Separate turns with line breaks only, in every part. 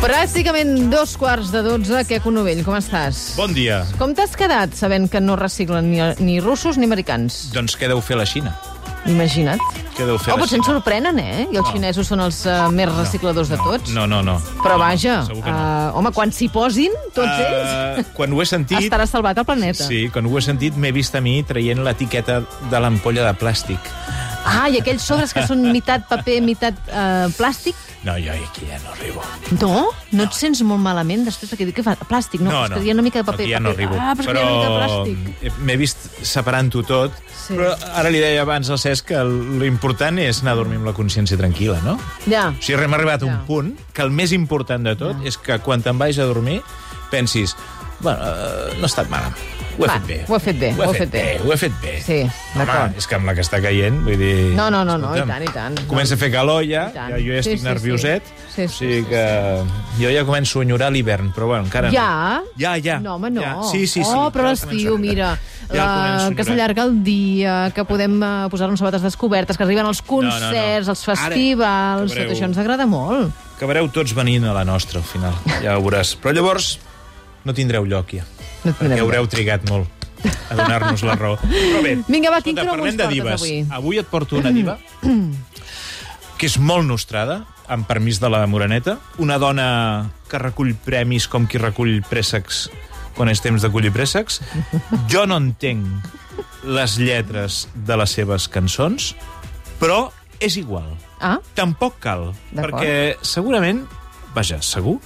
Pràcticament dos quarts de dotze. Què, Conovell, com estàs?
Bon dia.
Com t'has quedat sabent que no reciclen ni, ni russos ni americans?
Doncs què deu fer la Xina?
Imagina't.
Què deu fer
Oh,
la
potser ens
Xina?
sorprenen, eh? I els xinesos són els uh, més recicladors de tots.
No, no, no.
Però vaja,
segur que no.
uh, home, quan s'hi posin, tots ells,
Eh, quan ho he sentit...
estarà salvat el planeta.
Sí, quan ho he sentit m'he vist a mi traient l'etiqueta de l'ampolla de plàstic.
Ah, i aquells sobres que són mitat paper, mitat uh, plàstic,
No, jo aquí ja no arribo.
No? No et sents molt malament després de que diu que fa plàstic? No, és que hi ha una mica de paper.
aquí ja no
paper.
arribo.
Ah, però, però... hi ha una mica de plàstic.
plàstic. M'he vist separant-ho tot.
Sí.
Però ara li deia abans al Cesc que l'important és anar a dormir amb la consciència tranquil·la, no?
Ja.
O sigui, hem arribat a un
Ja.
punt que el més important de tot és que quan te'n vagis a dormir pensis, bueno, eh, no ha estat mal, ho he
Va,
fet bé.
ho he fet bé,
ho he fet bé. Ho he fet bé.
Sí,
Home,
d'acord.
és que amb la que està caient, vull dir...
No, no, no, no, i
escolta'm,
tant, i tant.
Comença a fer calor ja,
I tant.
ja jo ja
Sí,
estic
sí, sí.
nervioset,
Sí, sí,
o sigui
sí, sí.
que jo ja començo a enyorar l'hivern, però bueno, encara
Ja?
no. Ja? Ja,
No, home, no.
Ja. Sí, sí, sí.
Oh, però
ja el començo
l'estiu,
a
mira, la,
enyorar. el començo a
que
enyorar.
s'allarga el dia, que podem eh, posar-nos sabates descobertes, que arriben els concerts,
no.
els festivals,
Ara,
tot això ens agrada molt.
Acabareu tots venint a la nostra, al final. Ja ho veuràs. Però llavors no tindreu lloc, ja.
No et
Perquè
mirem.
haureu trigat molt a donar-nos la raó. Però bé,
Vinga, va, quin
escolta,
cromo
parlem
ens
de
portes
divas.
avui?
Avui et porto una diva que és molt nostrada, amb permís de la Moreneta, una dona que recull premis com qui recull préssecs quan és temps de collir préssecs. Jo no entenc les lletres de les seves cançons, però és igual
Ah,
tampoc cal,
D'acord.
perquè segurament, vaja, segur,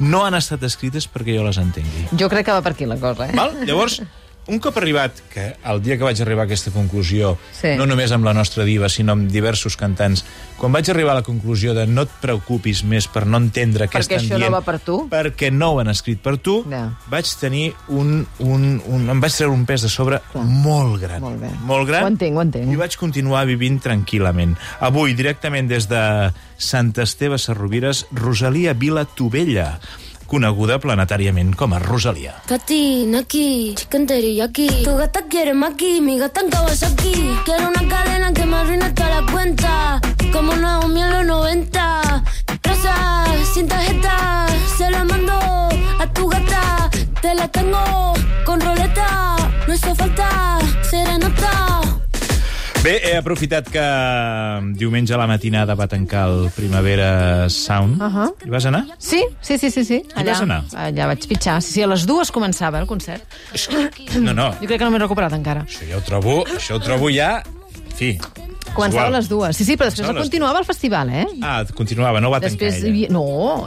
no han estat escrites perquè jo les entengui.
jo crec que va per aquí la cosa, eh?
Val? Llavors, un cop arribat, que el dia que vaig arribar a aquesta conclusió,
Sí.
no només amb la nostra diva, sinó amb diversos cantants, quan vaig arribar a la conclusió de no et preocupis més per no entendre què
Perquè
estan
això no
dient,
va per tu.
perquè no ho han escrit per tu,
Ja.
vaig tenir un, un, un... Em vaig treure un pes de sobre molt gran.
Molt bé.
Molt gran.
Ho entenc, ho entenc.
I vaig continuar vivint tranquil·lament. Avui, directament des de Sant Esteve Sarrovires, Rosalia Vila Tovella, coneguda planetàriament com a Rosalia.
Katy, Naki, chicken teriyaki. Tu gata quiere maki, mi gata en Kawasaki. Quiero una cadena que me arruine toda la cuenta. Como Naomi en los 90. Rosa, sin tarjeta. Se la mando a tu gata. Te la tengo con roleta. No hizo falta serenata.
Bé, he aprofitat que um, diumenge a la matinada va tancar el Primavera Sound. Uh -huh. Hi vas anar?
Sí, sí, sí, sí. sí.
vas anar?
allà vaig pitjar. Sí, sí, a les dues començava el concert.
No, no,
Jo crec que no m'he recuperat encara.
això ja ho trobo, això ho trobo ja... En fi,
Començava a les dues. Sí, sí, però després
Començava
no
a les
continuava el festival, eh?
Ah, continuava, no va
Després
tancar
hi
ella.
havia-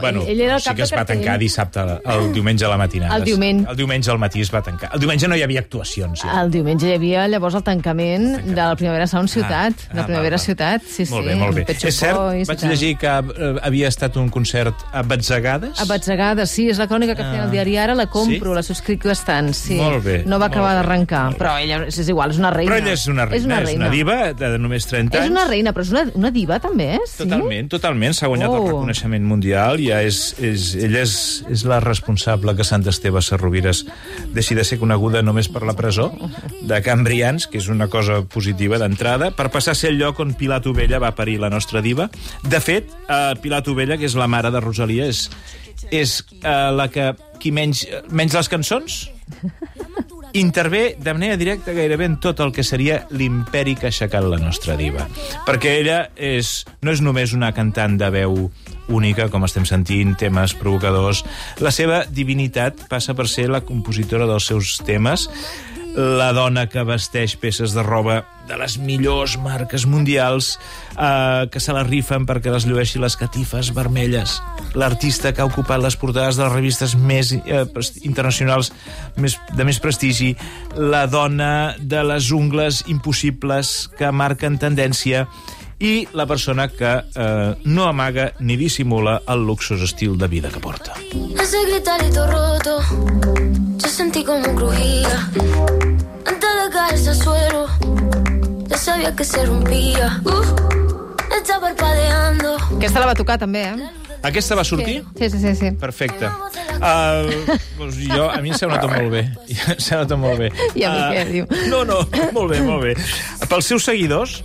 no, ell- ell era el
sí
cap
que es
de
va
cartell.
tancar dissabte, el diumenge a la matinada.
El diumenge.
El diumenge al matí es va tancar. El diumenge no hi havia actuacions. Ja.
El diumenge hi havia llavors el tancament de la Primavera Sound Ciutat.
Ah,
Ah, la
ah,
Primavera
val, val.
Ciutat, sí, sí.
molt bé, molt bé.
amb Pet Shop
És cert,
Boys i
vaig
tal.
llegir que eh, havia estat un concert a batzegades.
A batzegades, sí, és la crònica que feien al diari. Ara la compro,
Ah. Sí?
la subscric bastant, sí.
Molt bé,
No va
molt
acabar
bé,
d'arrencar,
molt bé.
però ella és igual, és una reina.
Però ella és una reina, és una,
reina.
diva de només 30 anys.
És una reina, però és una, una diva també, eh? Sí?
Totalment, totalment. S'ha guanyat
Oh.
el reconeixement mundial. Ja és, és, ella és, és la responsable que Sant Esteve Sarrovires deixi de ser coneguda només per la presó de Can Brians, que és una cosa positiva d'entrada, per passar a ser el lloc on Pilar Tovella va parir la nostra diva. De fet, eh, Pilar Tovella, que és la mare de Rosalia, és, és eh, la que qui menys, menys les cançons intervé de manera directa gairebé en tot el que seria l'imperi que ha aixecat la nostra diva. Perquè ella és, no és només una cantant de veu única, com estem sentint, temes provocadors. La seva divinitat passa per ser la compositora dels seus temes, la dona que vesteix peces de roba de les millors marques mundials eh, que se la rifen perquè les llueixi les catifes vermelles. L'artista que ha ocupat les portades de les revistes més eh, pres- internacionals més, de més prestigi. La dona de les ungles impossibles que marquen tendència i la persona que eh, no amaga ni dissimula el luxós estil de vida que porta.
Ese gritarito roto. Yo sentí como crujía. Antes de caerse al suelo. Ya sabía que se rompía. Uf, está parpadeando.
Aquesta la va tocar també, eh?
Aquesta va sortir?
Sí, sí, sí. sí.
Perfecte. Uh, doncs jo, a mi em sembla tot molt bé. Em sembla tot molt bé.
I a mi
Eh,
què diu?
No, no, molt bé, molt bé. Pels seus seguidors,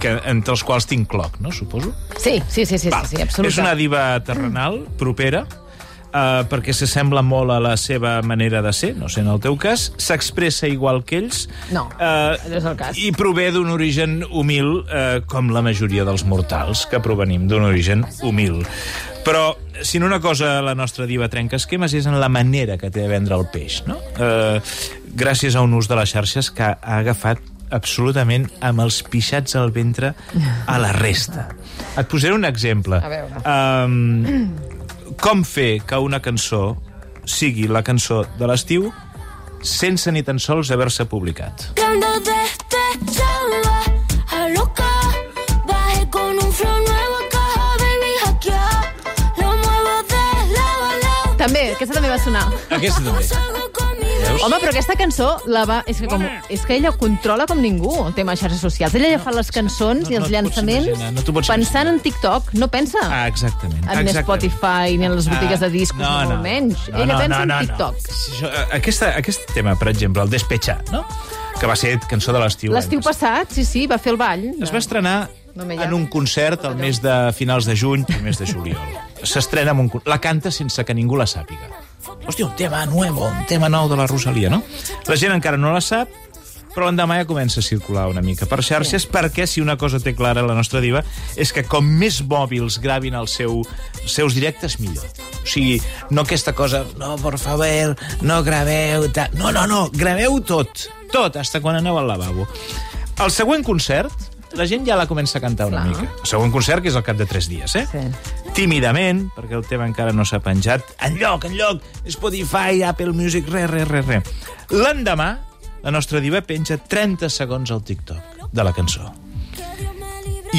que, entre els quals tinc cloc, no, suposo?
Sí, sí, sí, sí, sí, sí
És
absolutament.
una diva terrenal, propera, eh, perquè s'assembla molt a la seva manera de ser, no sé en el teu cas, s'expressa igual que ells... Ah,
No, no és el cas.
I prové d'un origen humil, eh, com la majoria dels mortals, que provenim d'un origen humil. Però, si en una cosa la nostra diva trenca esquemes és en la manera que té de vendre el peix, no? Eh, gràcies a un ús de les xarxes que ha agafat absolutament amb els pixats al ventre a la resta. Et posaré un exemple.
A veure.
Um, com fer que una cançó sigui la cançó de l'estiu sense ni tan sols haver-se publicat?
Ando desde chamba a loca. Bajé con un flow nuevo a caja, baby, hackea. Lo muevo de lado a lado.
També, aquesta també va sonar.
Aquesta també.
Salgo conmigo.
Home, però aquesta cançó la va... És que, com, és que ella controla com ningú el tema de xarxes socials. Ella ja fa les cançons
no,
i
no
els
et pots
llançaments
imaginar, no t'ho pots
pensant en TikTok. No pensa
Ah, exactament.
en
exactament.
Spotify ni en les botigues de discos,
Ah,
no, no. menys.
No,
ella
no,
pensa
no, no,
en TikTok.
No. Això, eh, Aquesta, aquest tema, per exemple, el Despechar, no? que va ser cançó de l'estiu.
L'estiu passat, sí, sí, va fer el ball.
Es va estrenar
No me
en
llamo.
un concert al mes de finals de juny, primers de juliol. S'estrena amb un... con- La canta sense que ningú la sàpiga. Hòstia, un tema nuevo, un tema nou de la Rosalia, no? La gent encara no la sap, però l'endemà ja comença a circular una mica per xarxes, perquè si una cosa té clara la nostra diva és que com més mòbils gravin els seu, els seus directes, millor. O sigui, no aquesta cosa, no, por favor, no graveu... Ta... No, no, no, graveu tot, tot, hasta quan aneu al lavabo. El següent concert, la gent ja la comença a cantar una
Clar.
mica. El següent concert, que és al cap de tres dies, eh?
Sí.
tímidament, perquè el tema encara no s'ha penjat, enlloc, enlloc, Spotify, Apple Music, res, res, res, res. L'endemà, la nostra diva penja 30 segons al TikTok de la cançó.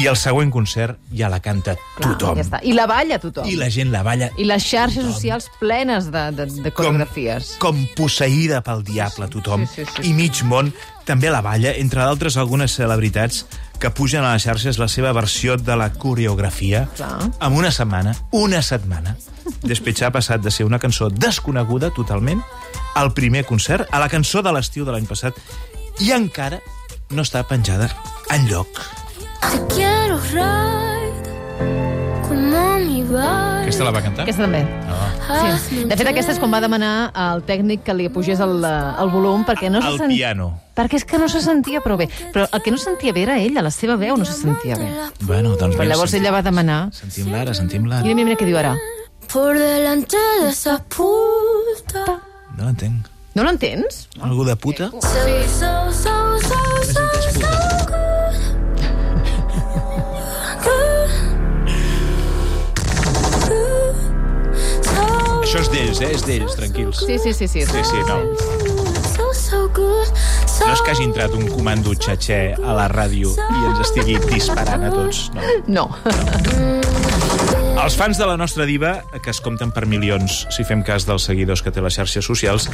I el següent concert ja la canta tothom.
Ja està. I la balla tothom.
I la gent la balla
I les xarxes socials plenes de, de, de coreografies.
com posseïda pel diable tothom.
sí, sí, sí.
I mig món també la balla, entre d'altres algunes celebritats que pugen a les xarxes la seva versió de la coreografia
Clar.
en una setmana, una setmana. Despetxar ha passat de ser una cançó desconeguda totalment al primer concert, a la cançó de l'estiu de l'any passat, i encara no està penjada en lloc.
Te quiero ride como mi bar.
la va cantar?
Aquesta també.
Ah,
Sí. De este fet, aquesta és quan va demanar al tècnic que li apugés el, eh, el volum perquè no se
Al
sent-
piano.
Perquè és que no se sentia prou bé. Però el que no sentia bé era ella, la seva veu no se sentia bé.
Bueno, doncs
Però
mira,
llavors ella va demanar...
Sentim l'ara, sentim l'ara.
Mira, mira, mira què diu ara.
Por delante de esa puta.
No l'entenc.
No l'entens?
Algú de puta?
So, so, so, so, so, so good. Good. Good. So,
Això és d'ells, eh? És d'ells, tranquils.
Sí, sí, sí. Sí,
Sí, sí, no.
so, so good. So
No és que hagi entrat un comando xatxer a la ràdio i ens estigui disparant a tots.
No.
No. Els fans de la nostra diva, que es compten per milions, si fem cas dels seguidors que té les xarxes socials,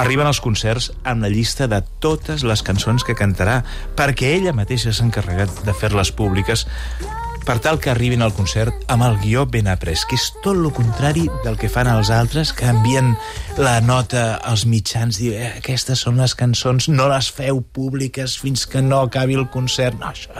arriben als concerts amb la llista de totes les cançons que cantarà, perquè ella mateixa s'ha encarregat de fer-les públiques per tal que arribin al concert amb el guió ben après, que és tot el contrari del que fan els altres, que envien la nota als mitjans, diu, eh, aquestes són les cançons, no les feu públiques fins que no acabi el concert. No, això,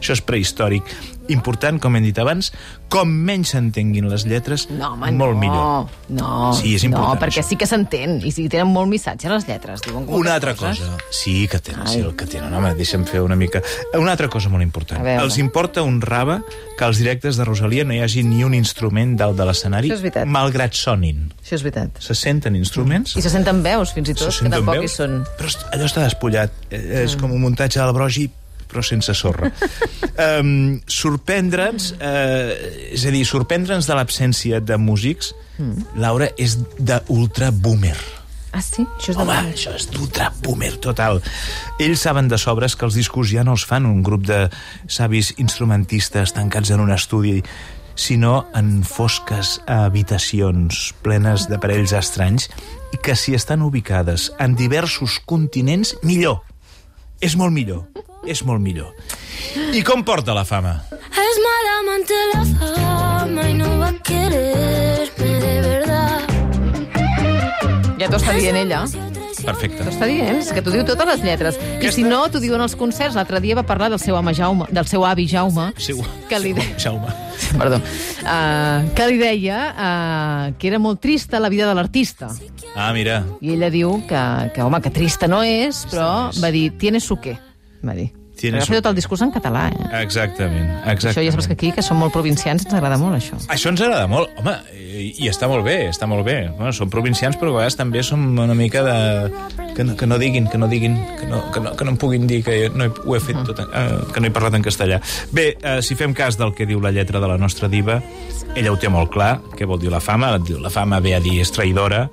això és prehistòric. Important, com hem dit abans, com menys s'entenguin les lletres,
No, home,
molt
no.
millor.
No,
Sí, és
No,
important,
perquè
això.
sí que s'entén. I sí, tenen molt missatge les lletres. Diuen com
Una altra cosa. Sí, que tenen, sí, el que tenen. Home, deixa'm fer una mica... Una altra cosa molt important.
A veure.
Els importa un raba que als directes de Rosalia no hi hagi ni un instrument dalt de l'escenari,
Això és veritat.
malgrat sonin.
Això és veritat.
Se senten instruments...
I se senten veus, fins i tot, que
senten
tampoc
veus,
hi són.
Però est- allò està despullat. Eh, És com un muntatge del brogi però sense sorra. um, Sorprendre'ns, eh, és a dir, sorprendre'ns de l'absència de músics,
Hmm.
Laura, és d'ultra boomer.
Ah, sí? Això és de
Home, això és d'ultra boomer total. Ells saben de sobres que els discos ja no els fan un grup de savis instrumentistes tancats en un estudi, sinó en fosques habitacions plenes d'aparells estranys i que si estan ubicades en diversos continents, millor. És molt millor. És molt millor. I com porta la fama?
Es mala amante la fama y no va a quererme de verdad.
Ja t'ho està dient ella.
Perfecte.
T'ho està dient, és que t'ho diu totes les lletres. I si no, t'ho diuen als concerts. L'altre dia va parlar del seu home Jaume, del seu avi Jaume,
Seu-
que li, de...
Jaume.
Perdó. Uh, que li deia uh, que era molt trista la vida de l'artista.
Ah, mira.
I ella diu que, que home, que trista no és, però va dir, tienes su qué, va dir.
Tiene
Però
su-
va fer tot el discurs en català, eh?
Exactament, exactament.
Això ja saps que aquí, que som molt provincians, ens agrada molt, això.
Això ens agrada molt, home, i, i està molt bé, està molt bé. Bueno, som provincians, però a vegades també som una mica de... Que no, que no diguin, que no diguin, que no, que no, que no em puguin dir que jo no he, ho he fet tot, en, eh, que no he parlat en castellà. Bé, eh, si fem cas del que diu la lletra de la nostra diva, ella ho té molt clar, què vol dir la fama. Diu, la fama ve a dir és traïdora,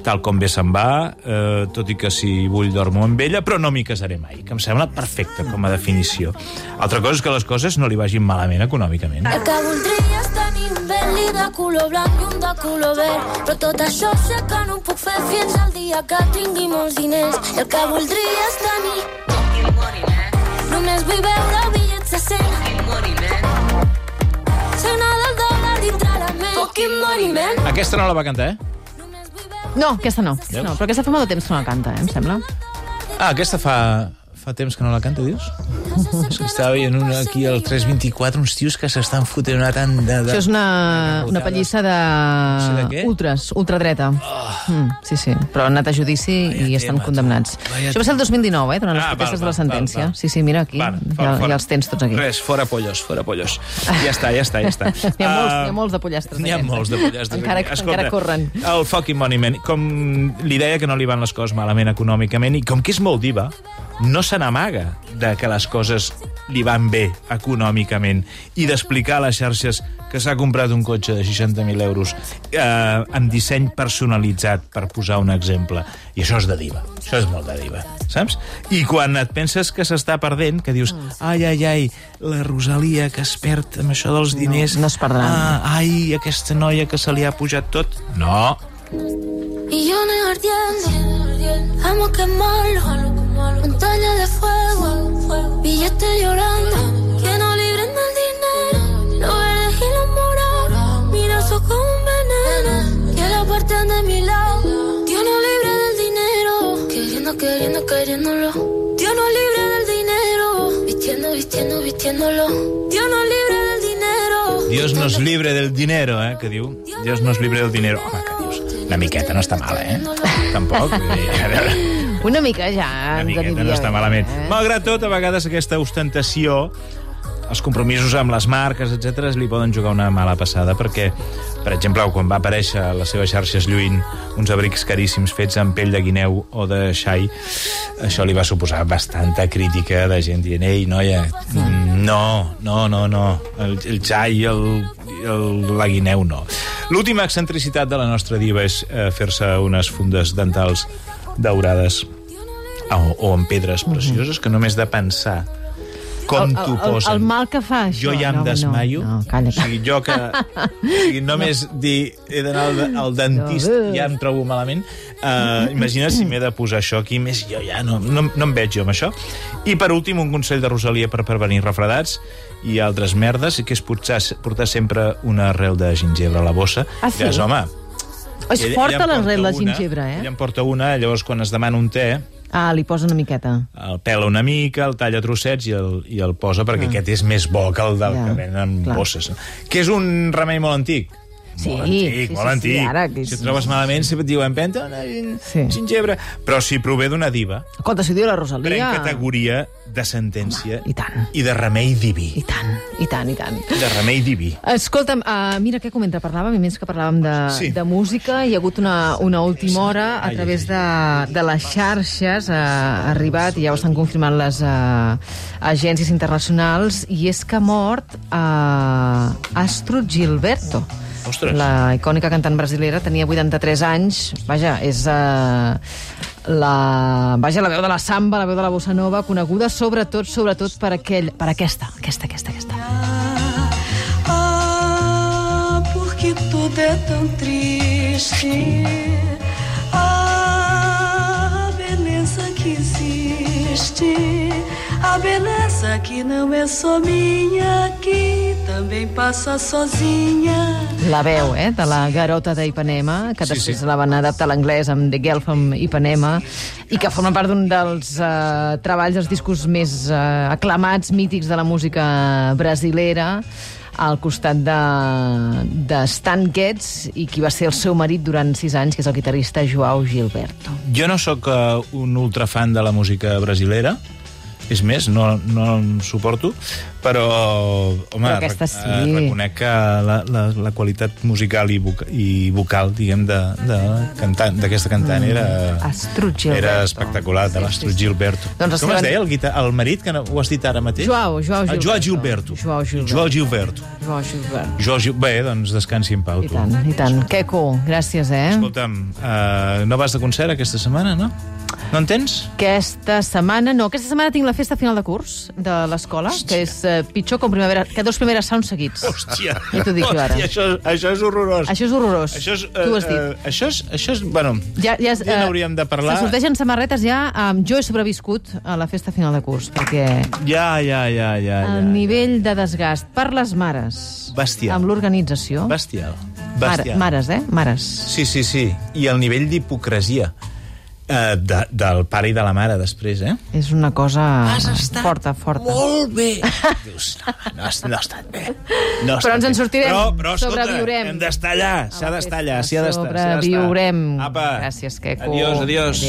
tal com bé se'n va, eh, tot i que si vull dormo amb ella, però no m'hi casaré mai, que em sembla perfecta com a definició. Altra cosa és que les coses no li vagin malament econòmicament.
El que voldries tenir un Bentley de color blanc i un de color verd. Però tot això sé que no ho puc fer fins al dia que tingui molts diners. El que voldries tenir... Només vull veure bitllets de 100. Sona del dòlar dintre la ment. Fucking money, man.
Aquesta no la va cantar, eh?
Només vull veure...
No, aquesta no.
Veus?
no però aquesta fa molt de temps que no la canta, eh, em sembla.
Ah, aquesta fa, fa temps que no la canta, dius? És que estava veient una, aquí al 324 uns tios que s'estan fotent una tanda de...
Això és una, una pallissa de...
sé de què. Ah.
ultres, ultradreta. Oh. Mm, sí, sí, però han anat a judici i estan
tema, tu.
condemnats.
Vaya
Això va ser el 2019, eh, durant les
Ah, val,
protestes de
val,
la sentència.
val, val.
Sí, sí, mira aquí,
Van,
ja,
fora, fora.
ja els tens tots aquí.
Res, fora pollos, fora pollos. Ja està, ja està, ja està.
N'hi ha, molts,
Ah,
n'hi ha molts de pollastres.
N'hi ha
d'aquests,
molts de
eh?
pollastres.
Encara,
aquí.
encara corren.
El fucking monument. Com li deia que no li van les coses malament econòmicament i com que és molt diva, no se n'amaga de que les coses li van bé econòmicament i d'explicar a les xarxes que s'ha comprat un cotxe de 60.000 euros eh, amb disseny personalitzat, per posar un exemple. I això és de diva. Això és molt de diva, saps? I quan et penses que s'està perdent, que dius,
Mm.
ai, ai, ai, la Rosalia que es perd amb això dels diners...
no es perdrà.
Ah, ai, aquesta noia que se li ha pujat tot. No,
Millones ardiendo, amo quemarlo, montaña de fuego, billetes llorando, que no libren del dinero, los verdes y los morados, mira ojos como un veneno, que la parten de mi lado, Dios no libre del dinero, queriendo, queriendo, queriéndolo, Dios no libre del dinero, vistiendo, vistiendo, vistiéndolo, Dios no libre del dinero.
Dios nos libre del dinero, eh, que diu. Dios nos libre del dinero. Home, que dius, una miqueta no està mal, eh? Tampoc. vull dir, A veure,
Una mica ja
una
ens
miqueta no
aniria
està
bé,
malament.
eh?
Malgrat tot, a vegades aquesta ostentació els compromisos amb les marques, etc li poden jugar una mala passada, perquè, per exemple, quan va aparèixer a les seves xarxes lluint uns abrics caríssims fets amb pell de guineu o de xai, això li va suposar bastanta crítica de gent dient, ei, noia, mm, no, no, no, no, el, el xai i el, i el, la guineu no. L'última excentricitat de la nostra diva és eh, fer-se unes fundes dentals daurades o, o amb pedres precioses, que només de pensar com t'ho posen.
El, el mal que fa, això.
Jo ja em
no,
desmaio.
No, no, calla,
O sigui, jo que... O sigui, només dir he d'anar al, al dentista
No.
ja em trobo malament. Uh, imagina si m'he de posar això aquí. Més jo ja no, no, no em veig jo amb això. I per últim, un consell de Rosalia per prevenir refredats i altres merdes, que és portar, portar sempre una arrel de gingebre a la bossa.
Ah, sí?
Digues, home,
calla. És
ella- ella
forta
en porta
l'arrel de
una,
gingebre, eh?
Ella en porta una, llavors quan es demana un te,
Ah, li posa una miqueta.
el pela una mica, el talla a trossets i el, i el posa perquè aquest és més bo que el
Ah.
del
Ja,
ja, que venen amb
clar.
bosses. Que és un remei molt antic.
Sí,
molt
sí,
antic,
sí,
molt
sí,
antic.
ara que és-
Si et trobes malament, sempre et diuen empenta una gin-
Sí.
gingebre. Però si prové d'una diva,
Escolta, si ho diu la Rosalia...
pren categoria de sentència
Home, Ah, i tant.
i de remei diví.
I tant, i tant, i tant.
De remei diví.
Escolta'm, uh, mira què comenta, parlàvem, i menys que parlàvem de, sí.
Sí.
de música, hi ha hagut una, una última hora a
Ai,
través de, de les xarxes, uh, ha arribat, i ja ho estan confirmant les uh, agències internacionals, i és que ha mort uh, Astro Gilberto.
Ostres.
La icònica cantant brasilera tenia 83 anys, vaja, és... Uh, la, vaja, la veu de la samba, la veu de la bossa nova, coneguda sobretot, sobretot per, aquell, per aquesta, aquesta, aquesta, aquesta.
Ah, porque tudo é tão triste. Ah, a beleza que existe. A beleza Essa que não é só minha, que também passa sozinha.
La veu, eh, de la garota d'Ipanema, que
Sí,
després
sí.
la van adaptar a l'anglès amb The Girl from Ipanema, i que forma part d'un dels eh, treballs, dels discos més eh, aclamats, mítics de la música brasilera, al costat de, de Stan Getz i qui va ser el seu marit durant sis anys, que és el guitarrista Joao Gilberto.
Jo no sóc eh, un ultrafan de la música brasilera, és més, no, no em suporto, però, home,
Però aquesta
rec-
sí.
eh, reconec que la, la, la qualitat musical i, voca i vocal, diguem, d'aquesta de, de cantant, d'aquesta cantant
Mm.
era...
Astrud Gilberto.
Era espectacular, de l'Astrud Gilberto.
Doncs
Com
estaven-
es deia el, guita el marit, que no, ho has dit ara mateix?
Joao, Joao
Ah, Joao
Gilberto.
Gilberto.
Joao Gilberto.
Joao Gilberto.
Joao Gilberto.
Joao Gil- Bé, doncs descansi en pau,
I
tu.
tant, i tant. Queco, gràcies, eh?
Escolta'm, uh, no vas de concert aquesta setmana, no? No en tens?
Aquesta setmana, no, aquesta setmana tinc la festa final de curs de l'escola, que és eh, pitjor que, un primavera, que dos primeres sounds seguits.
Hòstia!
Ja t'ho dic jo ara.
Hòstia, això, això és horrorós.
Això és horrorós.
Això és...
Tu ho has dit.
eh, això és... Això és bueno,
Ja, ja, és,
ja
eh,
n'hauríem de parlar.
Se sortegen samarretes ja amb Jo he sobreviscut a la festa final de curs, perquè
Ja, ja, ja, ja. ja.
el nivell de desgast per les mares
Bestial.
amb l'organització...
Bestial.
Mare,
Bestial.
mares, eh? Mares.
Sí, sí, sí. I el nivell d'hipocresia eh, de, del pare i de la mare després, eh?
És una cosa forta, forta.
Molt bé! Dius, no, no, ha- no ha estat bé. No ha
Però
estat
ens en
bé.
sortirem.
Però, però escolta,
Sobreviurem.
hem d'estar allà. S'ha d'estar allà, s'hi ha d'estar. s'hi ha d'estar.
Sobreviurem.
Apa.
Gràcies, Queco.
Adiós, adiós.
Adéu.